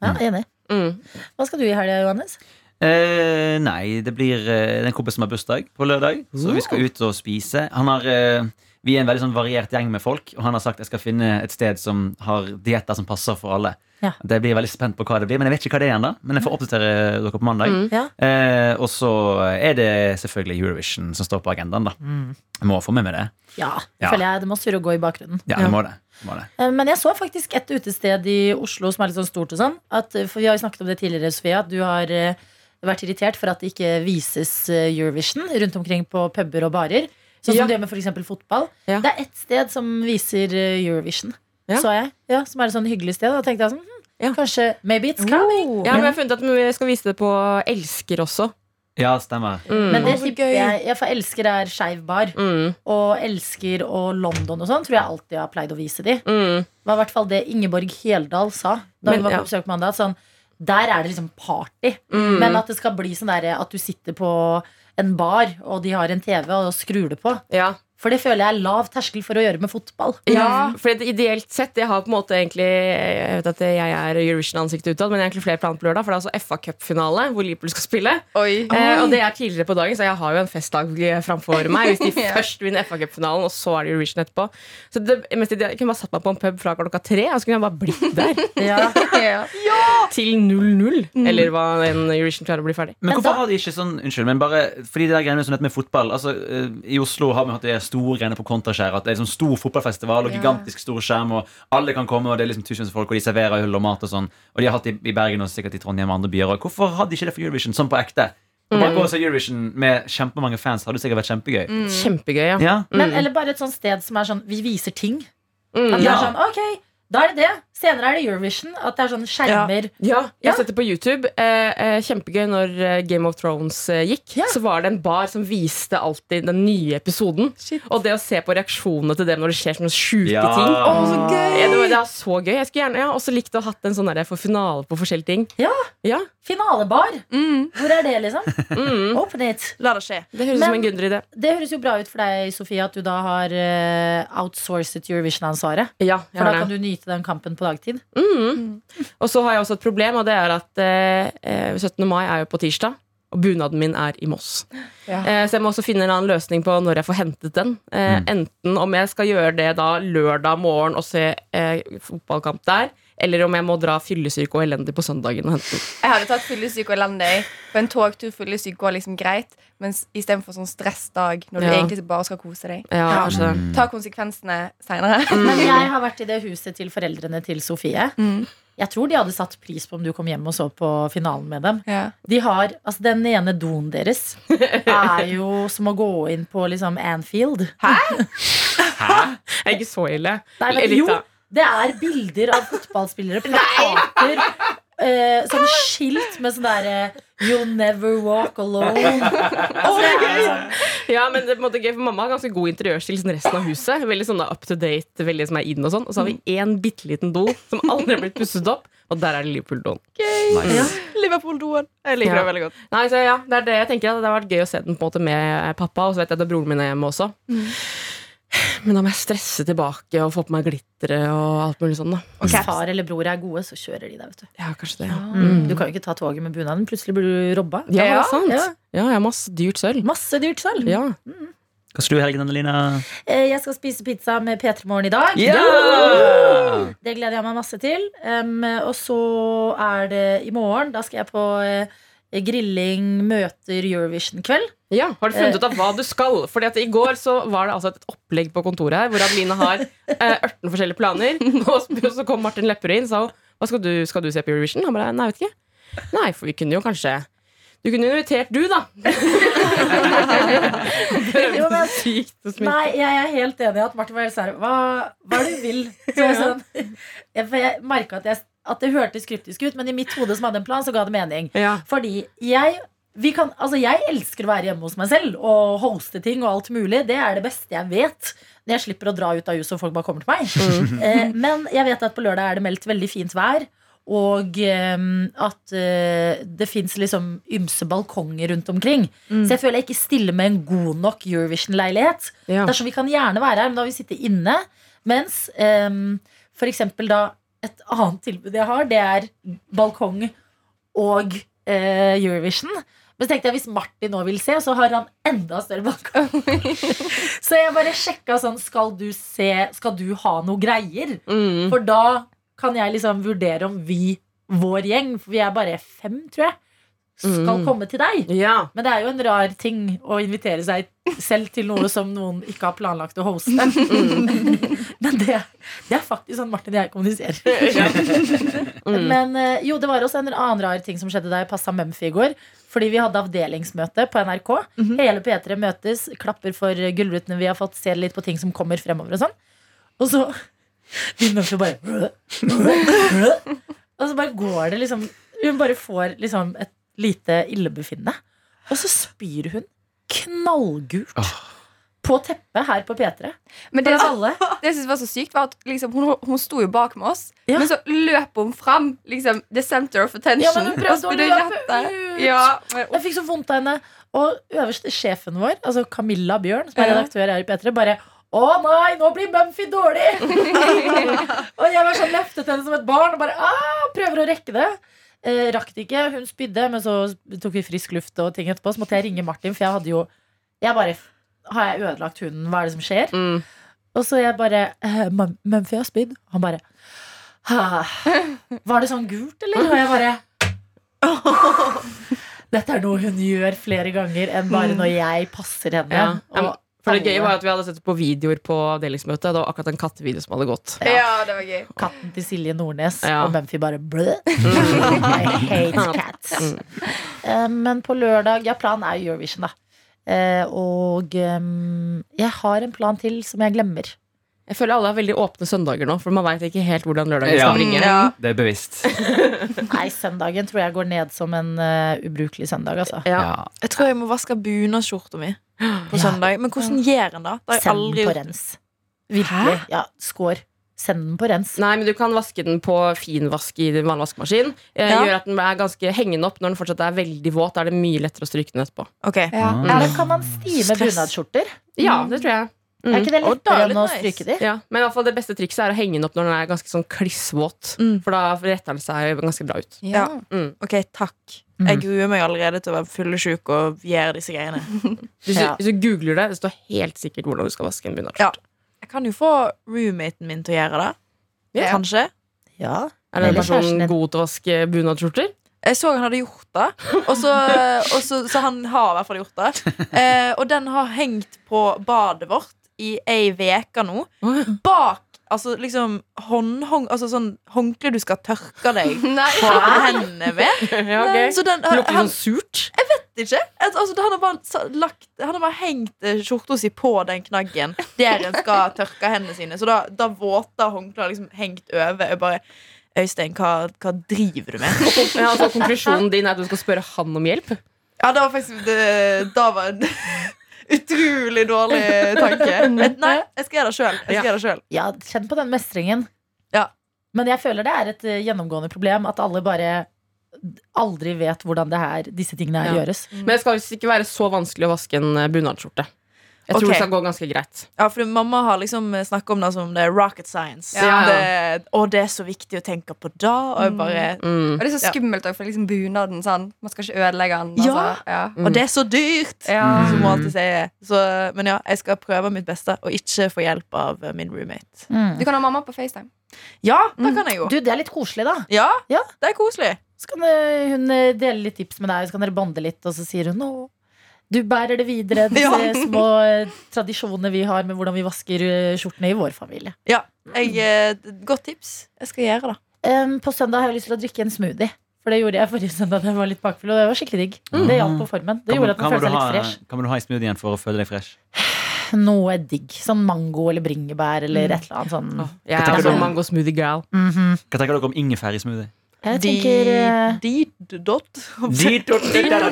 Speaker 2: ja, enig.
Speaker 3: Mm.
Speaker 2: Hva skal du i helga, Johannes?
Speaker 4: Eh, nei, det blir eh, den kompisen som har bursdag på lørdag. Så vi skal ut og spise. Han har, eh, vi er en veldig sånn variert gjeng med folk, og han har sagt jeg skal finne et sted som har dietter som passer for alle.
Speaker 2: Ja.
Speaker 4: Det blir jeg veldig spent på hva det blir, men jeg vet ikke hva det er ennå. Men jeg får oppdatere dere på mandag.
Speaker 3: Mm.
Speaker 2: Ja.
Speaker 4: Eh, og så er det selvfølgelig Eurovision som står på agendaen, da. Jeg må få med meg det.
Speaker 2: Ja,
Speaker 4: Ja.
Speaker 2: føler jeg det må surre og gå i bakgrunnen.
Speaker 4: Ja, jeg må det. Jeg må det.
Speaker 2: Eh, Men jeg så faktisk et utested i Oslo som er litt sånn stort og sånn. At, eh, for vi har jo snakket om det tidligere, Sofia, at du har eh, vært irritert for at det ikke vises eh, Eurovision rundt omkring på puber og barer. Sånn
Speaker 3: Ja.
Speaker 2: som du gjør med f.eks. fotball.
Speaker 3: Ja.
Speaker 2: Det er ett sted som viser eh, Eurovision,
Speaker 3: Ja.
Speaker 2: så jeg. Ja, som er et sånn hyggelig sted. Og da tenkte jeg sånn, hm,
Speaker 3: Ja.
Speaker 2: kanskje Maybe it's coming.
Speaker 3: Ja, men jeg har funnet at vi skal vise det på Elsker også.
Speaker 4: Ja, stemmer.
Speaker 3: Mm.
Speaker 2: Men det
Speaker 5: Å, så
Speaker 2: tipper
Speaker 5: gøy.
Speaker 2: jeg. Ja, for elsker er skeiv bar.
Speaker 3: mm.
Speaker 2: Og elsker og London og sånn tror jeg alltid har pleid å vise de.
Speaker 3: Mm.
Speaker 2: Det var i hvert fall det Ingeborg Heldal sa da
Speaker 3: Men,
Speaker 2: hun var
Speaker 3: ja.
Speaker 2: på besøk på mandag. at Sånn, der er det liksom party.
Speaker 3: Mm.
Speaker 2: Men at det skal bli sånn der, at du sitter på en bar, og de har en TV, og skrur det på.
Speaker 3: ja.
Speaker 2: For det føler jeg er lav terskel for å gjøre med fotball.
Speaker 3: Ja, for det- ideelt sett Jeg har på en måte egentlig Jeg vet at jeg er Eurovision-ansiktet utad, men jeg har egentlig flere planer på lørdag. For det er altså FA Cup-finale hvor Liverpool skal spille.
Speaker 6: Oi.
Speaker 3: Eh, og det er tidligere på dagen, så jeg har jo en festdag framfor meg. Hvis de
Speaker 6: Ja.
Speaker 3: først vinner FA Cup-finalen, og så er det Eurovision etterpå. Så det mest ideelle, Jeg kunne bare satt meg på en pub fra klokka tre, og så kunne jeg bare blitt der
Speaker 2: Ja.
Speaker 6: Ja.
Speaker 3: til 0-0. Eller hva en Eurovision klarer å bli ferdig.
Speaker 4: Men
Speaker 2: Men
Speaker 4: hvorfor
Speaker 2: da-
Speaker 4: har de ikke sånn Unnskyld, men bare fordi det der greiene som dette med fotball altså, eh, I Oslo har vi hatt de store greiene på Kontraskjær. At det er liksom stor fotballfestival og
Speaker 6: Ja.
Speaker 4: gigantisk stor skjerm, og alle kan komme, og det er liksom tusenvis av folk, og de serverer øl og mat og sånn. Og de har hatt det i Bergen og sikkert i Trondheim og andre byer. Og hvorfor hadde de ikke det for Eurovision sånn på ekte? Å
Speaker 2: Mm.
Speaker 4: bare gå og se Eurovision med kjempemange fans hadde sikkert vært kjempegøy.
Speaker 3: Kjempegøy, ja.
Speaker 4: Ja.
Speaker 2: Men, eller bare et sånt sted som er sånn Vi viser ting. At
Speaker 3: Mm.
Speaker 2: det
Speaker 4: Ja.
Speaker 2: er sånn, ok Da er det det. Senere er det Eurovision. At det er sånne skjermer.
Speaker 3: Ja, jeg
Speaker 2: Ja.
Speaker 3: har sett det på YouTube. Eh, eh, kjempegøy når eh, Game of Thrones eh, gikk.
Speaker 2: Ja.
Speaker 3: Så var det en bar som viste alltid den nye episoden. Og det å se på reaksjonene til dem når det skjer sånne sjuke
Speaker 4: Ja.
Speaker 3: ting.
Speaker 4: Å,
Speaker 5: så gøy!
Speaker 3: Ja, Det, var, det er så gøy. Jeg skulle gjerne ja, også likt å ha hatt en sånn derre for finale på forskjellige ting.
Speaker 2: Ja.
Speaker 3: ja.
Speaker 2: Finalebar.
Speaker 5: Mm.
Speaker 2: Hvor er det, liksom?
Speaker 3: Mm.
Speaker 2: Open it.
Speaker 5: La det skje.
Speaker 3: Det høres
Speaker 2: Men-
Speaker 3: ut som en gunder idé.
Speaker 2: Det høres jo bra ut for deg, Sofie, at du da har eh, outsourcet Eurovision-ansvaret.
Speaker 3: Ja,
Speaker 2: For da
Speaker 3: gjerne.
Speaker 2: kan du nyte den kampen på dagtid.
Speaker 3: Mm. Og så har jeg også et problem, og det er at eh, eh, 17. mai er jo på tirsdag. Og bunaden min er i Moss.
Speaker 5: Ja.
Speaker 3: Eh, så jeg må også finne en annen løsning på når jeg får hentet den. Eh,
Speaker 4: Mm.
Speaker 3: Enten om jeg skal gjøre det da lørdag morgen og se eh, fotballkamp der, eller om jeg må dra fyllesyk og elendig på søndagen og hente den.
Speaker 6: Jeg hadde tatt fyllesyk og elendig. For en togtur fyllesyk går liksom greit, mens istedenfor sånn stressdag når du
Speaker 3: Ja.
Speaker 6: egentlig bare skal kose deg.
Speaker 3: Ja, altså,
Speaker 5: Ja.
Speaker 3: kanskje det.
Speaker 6: Ta konsekvensene seinere.
Speaker 2: Men jeg har vært i det huset til foreldrene til Sofie.
Speaker 6: Mm.
Speaker 2: Jeg tror de hadde satt pris på om du kom hjem og så på finalen med dem.
Speaker 6: Ja.
Speaker 2: De har, altså Den ene doen deres er jo som å gå inn på liksom Anfield.
Speaker 3: Jeg er ikke så ille.
Speaker 2: Nei, men,
Speaker 3: Litt,
Speaker 2: jo,
Speaker 3: da.
Speaker 2: det er bilder av fotballspillere, plakater, eh, sånn skilt med sånn derre You'll never walk alone. Altså, det er sånn,
Speaker 3: Ja, men det er på en måte gøy, for Mamma har ganske god interiørstil som resten av huset. Veldig sånn da up to date, veldig som er inn Og sånn Og så har vi én bitte liten do som aldri har blitt pusset opp, og der er det Liverpool-doen.
Speaker 4: Nice.
Speaker 5: Liverpool-doen. Jeg liker
Speaker 3: Ja.
Speaker 5: det veldig godt.
Speaker 3: Nei, så ja, Det er det jeg tenker at det har vært gøy å se den på en måte med pappa, og så vet jeg at broren min er hjemme også. Men da må jeg stresse tilbake og få på meg glitteret og alt mulig sånn. da
Speaker 2: Hvis far eller bror er gode, så kjører de deg. vet Du
Speaker 3: Ja, kanskje det ja.
Speaker 2: mm. Du kan jo ikke ta toget med bunaden. Plutselig blir du robba.
Speaker 3: Ja, det er sant.
Speaker 2: Ja.
Speaker 3: Ja, jeg har masse dyrt sølv.
Speaker 2: Masse dyrt sølv.
Speaker 3: Ja.
Speaker 4: Hva skal du i helgen, Annelina?
Speaker 2: Eh, Jeg skal spise pizza med P3 Morgen i dag.
Speaker 4: Ja!
Speaker 2: Det gleder jeg meg masse til. Em, og så er det i morgen. Da skal jeg på eh, grilling, møter Eurovision-kveld.
Speaker 3: Ja, Eh. Har du funnet ut av hva du skal? Fordi at I går så var det altså et opplegg på kontoret her hvor Adeline har eh, 18 forskjellige planer. Og så- så kom Martin Lepperød inn og sa hun, hva skal du, skal du se på Eurovision. Han bare nei, jeg vet ikke. Nei, for vi kunne jo kanskje Du kunne jo invitert du, da.
Speaker 2: Jo, men-
Speaker 3: Sykt å sminke.
Speaker 2: Nei, jeg er helt enig i at Martin var helt sær. Hva, hva er det du vil? Så jeg, sånn, jeg, for jeg merka at, jeg- at det hørtes kryptisk ut, men i mitt hode som hadde en plan, så ga det mening.
Speaker 3: Ja.
Speaker 2: Fordi jeg vi kan, altså jeg elsker å være hjemme hos meg selv og hoste ting. og alt mulig Det er det beste jeg vet. Når jeg slipper å dra ut av huset og folk bare kommer til meg. Eh, men jeg vet at på lørdag er det meldt veldig fint vær. Og eh, at eh, det fins liksom ymse balkonger rundt omkring. Så jeg føler jeg ikke stiller med en god nok Eurovision-leilighet. Det
Speaker 3: Ja.
Speaker 2: er sånn Vi kan gjerne være her, men da vil vi sitte inne. Mens eh, for eksempel da et annet tilbud jeg har, det er balkong og eh, Eurovision. Men så tenkte jeg, hvis Martin nå vil se, så har han enda større balkong. så jeg bare sjekka sånn Skal du se Skal du ha noe greier?
Speaker 3: Mm.
Speaker 2: For da kan jeg liksom vurdere om vi, vår gjeng, for vi er bare fem, tror jeg, skal
Speaker 3: Mm.
Speaker 2: komme til deg.
Speaker 3: ja.
Speaker 2: Men det er jo en rar ting å invitere seg selv til noe som noen ikke har planlagt å hoste. Men det, det er faktisk sånn Martin og jeg kommuniserer. Men eh, jo, det var også en annen rar ting som skjedde da jeg passa Mumphy i går. Fordi vi hadde avdelingsmøte på NRK. Hele P3 møtes, klapper for gullrutene vi har fått, ser litt på ting som kommer fremover og sånn. Og så begynner Mumphy bare Og så bare går det liksom Hun bare får liksom et lite illebefinnende. Og så spyr hun knallgult på teppet her på P3.
Speaker 6: Men
Speaker 2: For
Speaker 6: det som,
Speaker 2: alle.
Speaker 6: det jeg synes var så sykt, var at liksom, hun, hun sto jo bak med oss,
Speaker 2: Ja.
Speaker 6: men så løp hun fram. Liksom, the center of attention.
Speaker 2: Ja, men hun prøvde
Speaker 6: Og så
Speaker 2: å
Speaker 6: ble det
Speaker 2: løpe
Speaker 6: rett der.
Speaker 2: ut.
Speaker 6: Ja, men,
Speaker 2: Jeg fikk så vondt av henne. Og øverste sjefen vår, altså Camilla Bjørn, som er
Speaker 6: Ja.
Speaker 2: redaktør her i P3, bare å nei, nå blir Mumphy dårlig! og jeg var sånn løftet henne som et barn og bare ah, prøver å rekke det. Eh, rakk det ikke. Hun spydde, men så tok vi frisk luft og ting etterpå. Så måtte jeg ringe Martin, for jeg hadde jo Jeg bare Har jeg ødelagt hunden? Hva er det som skjer?
Speaker 3: Mm.
Speaker 2: Og så jeg bare eh, Mum- Mumphy har spydd. Han bare «Ah, Var det sånn gult, eller? Og jeg bare dette er noe hun gjør flere ganger enn bare når jeg passer henne.
Speaker 3: Ja. Ja, men-
Speaker 2: Og
Speaker 3: For det gøye
Speaker 2: alle-
Speaker 3: var at Vi hadde sett på videoer på avdelingsmøtet. Det var akkurat en kattevideo som hadde gått.
Speaker 6: ja, det var gøy.
Speaker 2: katten til Silje Nordnes
Speaker 3: Ja.
Speaker 2: og Mumphy bare blø. I hate cats. Eh, Men på lørdag Ja, planen er jo Eurovision, da. Eh, Og eh, jeg har en plan til som jeg glemmer.
Speaker 3: Jeg føler alle har veldig åpne søndager nå, for man veit ikke helt hvordan lørdagen skal
Speaker 4: Ja.
Speaker 3: bringe.
Speaker 5: Ja.
Speaker 4: Det er bevisst.
Speaker 2: Nei, søndagen tror jeg går ned som en eh, ubrukelig søndag, altså.
Speaker 3: Ja.
Speaker 4: Ja.
Speaker 5: Jeg tror jeg må vaske bunadsskjorta mi på
Speaker 2: Ja.
Speaker 5: søndag. Men hvordan gjør en det? Det har jeg
Speaker 2: Send
Speaker 5: aldri
Speaker 2: den på
Speaker 5: gjort.
Speaker 2: rens. Virkelig. Ja, skår. Send den på rens.
Speaker 3: Nei, men du kan vaske den på finvask i din vannvaskmaskin. Eh,
Speaker 5: Ja.
Speaker 3: Gjør at den er ganske hengende opp når den fortsatt er veldig våt. Da er det mye lettere å stryke den etterpå.
Speaker 5: Ok,
Speaker 6: Ja.
Speaker 4: Mm.
Speaker 2: Eller kan man stime
Speaker 5: Stress.
Speaker 2: bunadsskjorter?
Speaker 3: Ja, det tror jeg.
Speaker 2: Er ikke det
Speaker 5: Og da
Speaker 2: lettere
Speaker 5: er det
Speaker 2: enn å
Speaker 5: nice.
Speaker 2: stryke de?
Speaker 3: Mm. Ja, men i hvert fall det beste trikset er å henge den opp når den er ganske sånn klissvåt.
Speaker 5: Mm.
Speaker 3: For da retter den seg ganske bra ut.
Speaker 5: Ja.
Speaker 3: Mm.
Speaker 5: ok, takk.
Speaker 2: Mm.
Speaker 5: Jeg gruer meg allerede til å være fyllesyk og gjøre disse greiene.
Speaker 3: Hvis,
Speaker 2: Ja.
Speaker 3: du, hvis du googler det, det står helt sikkert hvordan du skal vaske en
Speaker 5: Ja.
Speaker 3: bunadsskjorte.
Speaker 5: Jeg kan jo få roommaten min til å gjøre det.
Speaker 3: Ja.
Speaker 5: Kanskje.
Speaker 2: Ja.
Speaker 3: Er den
Speaker 2: Eller kjæresten
Speaker 3: personen
Speaker 2: din.
Speaker 3: god til å vaske bunadsskjorter?
Speaker 5: Jeg så han hadde gjort det, og så, og så, så han har i hvert fall gjort det. Eh, og den har hengt på badet vårt i ei veke nå. Bak altså liksom håndhånd... Altså sånn håndkle du skal tørke deg
Speaker 6: Nei,
Speaker 5: på hendene med.
Speaker 3: ja, ok.
Speaker 5: Så den, han,
Speaker 3: Lukter det sånn surt?
Speaker 5: vet ikke. Al- Altså, han, har bare sa- lagt, han har bare hengt eh, skjorta si på den knaggen der en skal tørke hendene sine. Så da, da våter håndklær liksom hengt over. Jeg bare Øystein, hva, hva driver du med?
Speaker 3: Ja, altså, konklusjonen din er at du skal spørre han om hjelp?
Speaker 5: Ja, det var faktisk det, Da var en utrolig dårlig tanke. Men nei, jeg skal gjøre det sjøl. Jeg skal gjøre det selv.
Speaker 2: Ja, kjenn på den mestringen.
Speaker 5: Ja.
Speaker 2: Men jeg føler det er et eh, gjennomgående problem at alle bare aldri vet hvordan det her, disse tingene her
Speaker 3: Ja.
Speaker 2: gjøres.
Speaker 3: Men det skal visst ikke være så vanskelig å vaske en eh, bunadsskjorte. Jeg tror
Speaker 5: Ok.
Speaker 3: det skal gå ganske greit.
Speaker 5: Ja, for mamma har liksom snakka om det som det er rocket science.
Speaker 3: Ja.
Speaker 5: Det, og det er så viktig å tenke på da. Og, jeg bare,
Speaker 3: Mm.
Speaker 6: Og det er så
Speaker 5: Ja.
Speaker 6: skummelt også, for liksom bunaden sånn. Man skal ikke ødelegge den.
Speaker 5: Ja.
Speaker 6: Altså. Ja.
Speaker 2: Mm.
Speaker 5: og det er så dyrt!
Speaker 6: Ja.
Speaker 5: Som hun alltid sier. Så, men ja, jeg skal prøve mitt beste og ikke få hjelp av eh, min roommate.
Speaker 6: Du kan ha mamma på FaceTime.
Speaker 5: Ja, det kan jeg jo.
Speaker 2: Du, det er litt koselig, da.
Speaker 5: Mm. Ja,
Speaker 2: Ja.
Speaker 5: det er koselig.
Speaker 2: Så kan eh, hun eh, dele litt tips med deg, så kan dere bonde litt, og så sier hun nå du bærer det videre, disse
Speaker 5: Ja.
Speaker 2: små eh, tradisjonene vi har med hvordan vi vasker eh, skjortene i vår familie.
Speaker 5: Jeg, eh, godt tips. Jeg skal gjøre det.
Speaker 2: Em, på søndag har jeg lyst til å drikke en smoothie. For det gjorde jeg forrige søndag da jeg var litt bakfull, og det var skikkelig digg.
Speaker 4: Mm.
Speaker 2: Det hjalp på formen. Det
Speaker 4: Hva må-
Speaker 2: gjorde at
Speaker 4: hva
Speaker 2: man
Speaker 4: må
Speaker 2: følte
Speaker 4: du
Speaker 2: seg litt
Speaker 4: ha-
Speaker 2: fresh.
Speaker 4: Hva må du ha i smoothien for å føle deg fresh?
Speaker 2: Noe digg. Sånn mango eller bringebær eller et eller annet sånn.
Speaker 4: Mm.
Speaker 3: Jeg
Speaker 4: tenker
Speaker 3: er
Speaker 4: du
Speaker 3: sånn
Speaker 4: om-
Speaker 3: mango smoothie girl.
Speaker 2: Mhm.
Speaker 4: Hva tenker dere om ingefær i smoothie?
Speaker 2: Jeg tenker eh,
Speaker 5: Dot.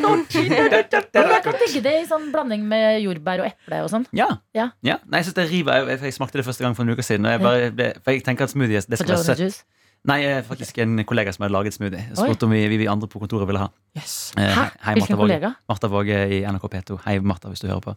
Speaker 2: men Jeg kan digge det i sånn blanding med jordbær og eple og sånn.
Speaker 4: Ja.
Speaker 2: Ja.
Speaker 4: Nei, jeg synes det river. Jeg, jeg smakte det første gang for en uke siden. Og jeg, bare, ble, for jeg tenker at smoothie det skal være
Speaker 2: Potato
Speaker 4: søtt.
Speaker 2: juice.
Speaker 4: Nei, jeg er faktisk en kollega som hadde laget smoothie. Jeg
Speaker 2: Oi.
Speaker 4: spurte om vi, vi, vi andre på kontoret ville ha.
Speaker 3: Yes.
Speaker 4: Eh,
Speaker 2: Hæ?
Speaker 4: Hei, Martha
Speaker 2: Hvilken
Speaker 4: Våge.
Speaker 2: kollega?
Speaker 4: Martha Våge i NRK P2. Hei, Martha, hvis du hører på.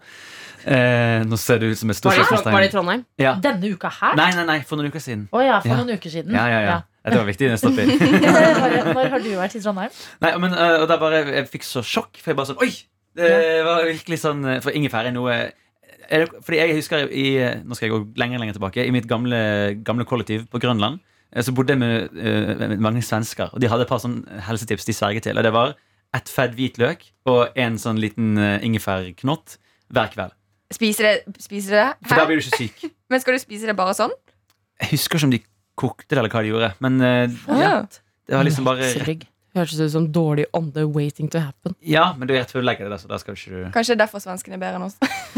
Speaker 4: Eh, nå ser du ut som et stort
Speaker 3: Var det, i Trond- var det i
Speaker 4: spørsmålstegn.
Speaker 3: Trondheim?
Speaker 4: Ja.
Speaker 2: Denne uka her?
Speaker 4: Nei, nei, nei, for noen uker siden.
Speaker 2: Å ja, for
Speaker 4: Ja.
Speaker 2: noen uker siden.
Speaker 4: Ja, ja, ja. Det var viktig. det stoppet.
Speaker 2: Når, når har du vært i Trondheim?
Speaker 4: Nei, men øh, og da bare, Jeg fikk så sjokk, for jeg bare sånn Oi! Det var virkelig sånn øh, For ingefær er noe er det, Fordi jeg husker i Nå skal jeg gå lenger lenger tilbake. I mitt gamle, gamle kollektiv på Grønland eh, så bodde jeg med, øh, med mange svensker. Og de hadde et par sånn helsetips de sverget til. Og det var ett fedd hvitløk og en sånn liten øh, ingefærknott hver kveld.
Speaker 6: Spiser det? Spiser det?
Speaker 4: For da
Speaker 6: Hæ?
Speaker 4: blir du ikke syk.
Speaker 6: Men skal du spise det bare sånn?
Speaker 4: Jeg husker ikke om de kokte det, eller hva de gjorde. Men øh, ja, det var liksom bare
Speaker 2: Lakserygg.
Speaker 3: Hørtes ut som dårlig ånde waiting to happen.
Speaker 4: Ja, men du er rett før du legger det der, så der skal du ikke du
Speaker 6: Kanskje det er derfor svenskene er bedre enn oss.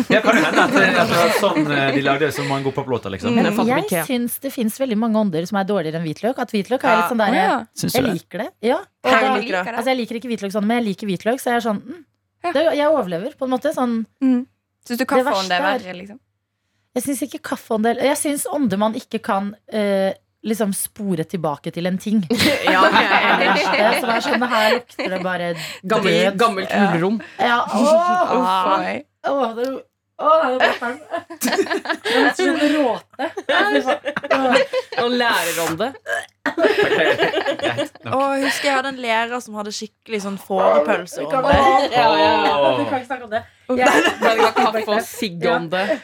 Speaker 4: Ja, kan jo hende at, at det var sånn eh, de lagde det som mange pop-låter, liksom.
Speaker 3: Men jeg fatter
Speaker 2: Jeg
Speaker 3: ikke.
Speaker 2: syns det fins veldig mange ånder som er dårligere enn hvitløk. At hvitløk er litt sånn der
Speaker 6: Ja.
Speaker 4: Syns du
Speaker 2: Jeg
Speaker 4: det?
Speaker 2: liker det. Ja. Og
Speaker 5: Jeg
Speaker 2: da,
Speaker 5: liker det.
Speaker 2: altså, jeg liker ikke hvitløk sånn, men jeg liker hvitløk, så jeg er sånn mm,
Speaker 6: Ja.
Speaker 2: det, Jeg overlever, på en måte. Sånn
Speaker 6: Mm. Syns du kaffeånd
Speaker 2: verste
Speaker 6: er
Speaker 2: er-
Speaker 6: verre? liksom?
Speaker 2: Jeg syns ikke kaffeåndel Jeg syns ånder man ikke kan eh, liksom spore tilbake til en ting. Det
Speaker 3: Ja, ok, jeg
Speaker 2: er
Speaker 3: er
Speaker 2: det
Speaker 3: enig.
Speaker 2: verste. Som er sånn Her lukter det bare
Speaker 3: Gammel,
Speaker 2: død.
Speaker 3: gammelt hulrom.
Speaker 2: Ja,
Speaker 6: Uff,
Speaker 2: åh,
Speaker 6: oi.
Speaker 2: åh, det åh, det er bare ferdig. Som en råte.
Speaker 3: Og lærerånde.
Speaker 4: Greit. Nå-
Speaker 5: Og jeg husker jeg hadde en lærer som hadde skikkelig sånn fårepølse.
Speaker 2: Vi
Speaker 5: om
Speaker 2: kan-
Speaker 5: det.
Speaker 2: Åh, Vi kan ikke snakke om det. Jeg,
Speaker 3: Blanding av kaffe og siggånde.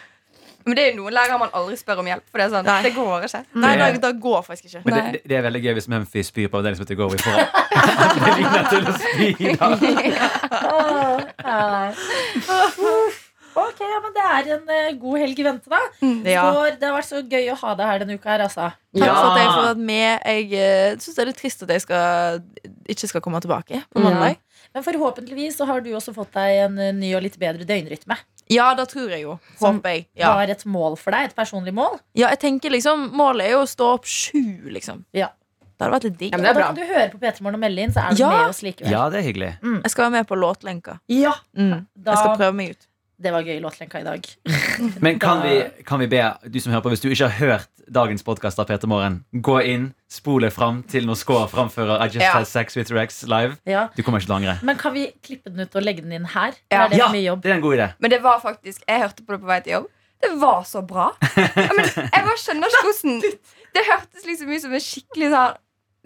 Speaker 6: Men det er jo noen lærere man aldri spør om hjelp. For det er sånn,
Speaker 5: Nei.
Speaker 6: det går ikke.
Speaker 5: Nei,
Speaker 4: Det-
Speaker 5: det, det går faktisk ikke.
Speaker 4: Men det,
Speaker 6: Nei.
Speaker 4: det- det er veldig gøy hvis Memphis spyr på avdelingen som heter Går vi foran. Det ligner til å spy da.
Speaker 2: åh, nei. Uff. Ok, ja, men det er en eh, god helg i vente, da.
Speaker 5: Ja.
Speaker 2: For det har vært så gøy å ha deg her denne uka her, altså.
Speaker 5: Takk for at jeg eh, får
Speaker 4: Ja.
Speaker 5: vært med. Jeg uh, syns det er litt trist at jeg skal, ikke skal komme tilbake på mandag.
Speaker 2: Men forhåpentligvis så har du også fått deg en eh, ny og litt bedre døgnrytme.
Speaker 5: Ja, det tror jeg jo.
Speaker 2: Som
Speaker 5: Håper jeg. Ja.
Speaker 2: Var et mål for deg, et personlig mål.
Speaker 5: ja, jeg tenker liksom Målet er jo å stå opp sju, liksom.
Speaker 2: Ja.
Speaker 5: Det hadde vært litt digg.
Speaker 3: Ja, men det er
Speaker 2: da
Speaker 3: bra.
Speaker 2: kan du høre på P3 Morgen og melde inn, så er du
Speaker 5: Ja.
Speaker 2: med oss likevel.
Speaker 4: Ja, det er hyggelig.
Speaker 5: Jeg skal være med på låtlenka.
Speaker 2: Ja,
Speaker 5: Mm.
Speaker 2: da,
Speaker 5: Jeg skal prøve meg ut.
Speaker 2: Det var gøy låtlenka i dag.
Speaker 4: Men kan vi, kan vi be du som hører på, hvis du ikke har hørt dagens podkast av Peter Morgen, gå inn, spole fram til når Skå framfører I Just
Speaker 5: Ja.
Speaker 4: Had Sex With Your Ex live.
Speaker 2: Ja.
Speaker 4: Du kommer ikke til å angre.
Speaker 2: Men kan vi klippe den ut og legge den inn her?
Speaker 6: Ja.
Speaker 2: Er det
Speaker 4: Ja,
Speaker 2: for mye jobb?
Speaker 4: det er en god idé.
Speaker 6: Men det var faktisk Jeg hørte på det på vei til jobb. Det var så bra. Ja, men jeg bare skjønner ikke hvordan Det hørtes liksom ut som en skikkelig sånn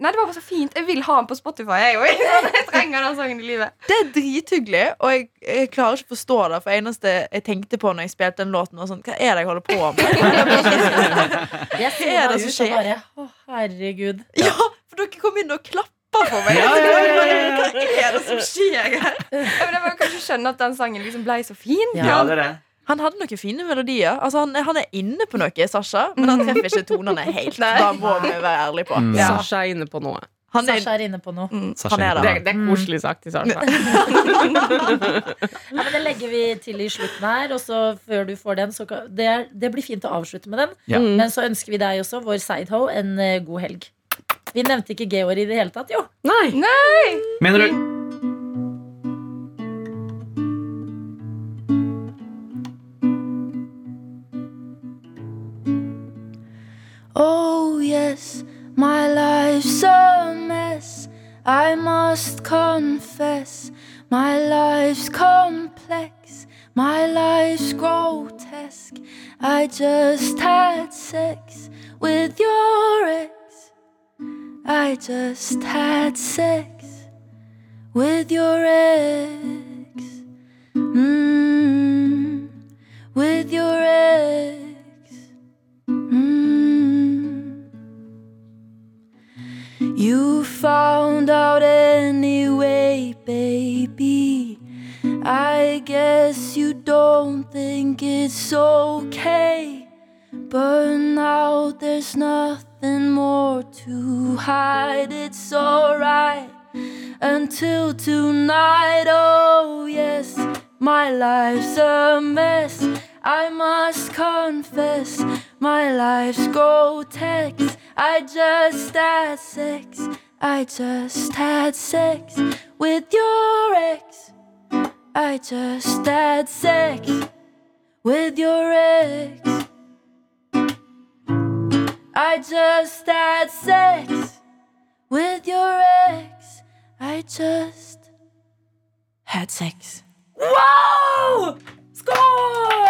Speaker 6: Nei, det var bare så fint. Jeg vil ha den på Spotify. Jeg, også. Sånn, jeg trenger den sangen i livet.
Speaker 5: Det er drithyggelig, og jeg, jeg klarer ikke å forstå det. For eneste jeg tenkte på når jeg spilte den låten, var sånn Hva er det jeg holder på med?
Speaker 2: Jeg
Speaker 5: Hva er
Speaker 2: sier
Speaker 5: det
Speaker 2: det ut
Speaker 5: som
Speaker 2: og bare Å, herregud.
Speaker 5: ja, for dere kom inn og klappa for meg.
Speaker 4: Ja, ja, ja, ja, ja.
Speaker 5: Hva er det som skjer her?
Speaker 6: Ja, men jeg bare kan ikke skjønne at den sangen liksom ble så fin.
Speaker 2: Ja.
Speaker 4: Ja, det er det.
Speaker 5: Han hadde noen fine melodier. Altså, han, han er inne på noe, Sasha, men han treffer ikke tonene helt. Da må vi være ærlige på.
Speaker 4: Mm.
Speaker 5: Ja.
Speaker 3: Sasha er inne på noe.
Speaker 5: Han er, Mm.
Speaker 2: Sasha er inne på noe.
Speaker 4: Sasha
Speaker 5: han er
Speaker 4: er
Speaker 5: det.
Speaker 3: Det, det er koselig sagt til Sasha.
Speaker 2: Ja, men Det legger vi til i slutten her. Og så før du får den så kan, det, er- det blir fint å avslutte med den.
Speaker 4: Ja.
Speaker 2: Men så ønsker vi deg også, vår sideho, en eh, god helg. Vi nevnte ikke Georg i det hele tatt, jo.
Speaker 3: Nei!
Speaker 4: Mener du?
Speaker 7: Oh, yes, my life's a mess. I must confess, my life's complex, my life's grotesque. I just had sex with your ex. I just had sex with your ex. Mm, with your ex. Mm. You found out anyway, baby. I guess you don't think it's okay. But now there's nothing more to hide. It's alright until tonight. Oh, yes, my life's a mess. I must confess, my life's grotesque. I just had sex, I just had sex with your ex. I just had sex with your ex. I just had sex with your ex. I just had sex.
Speaker 2: Wow! Skål!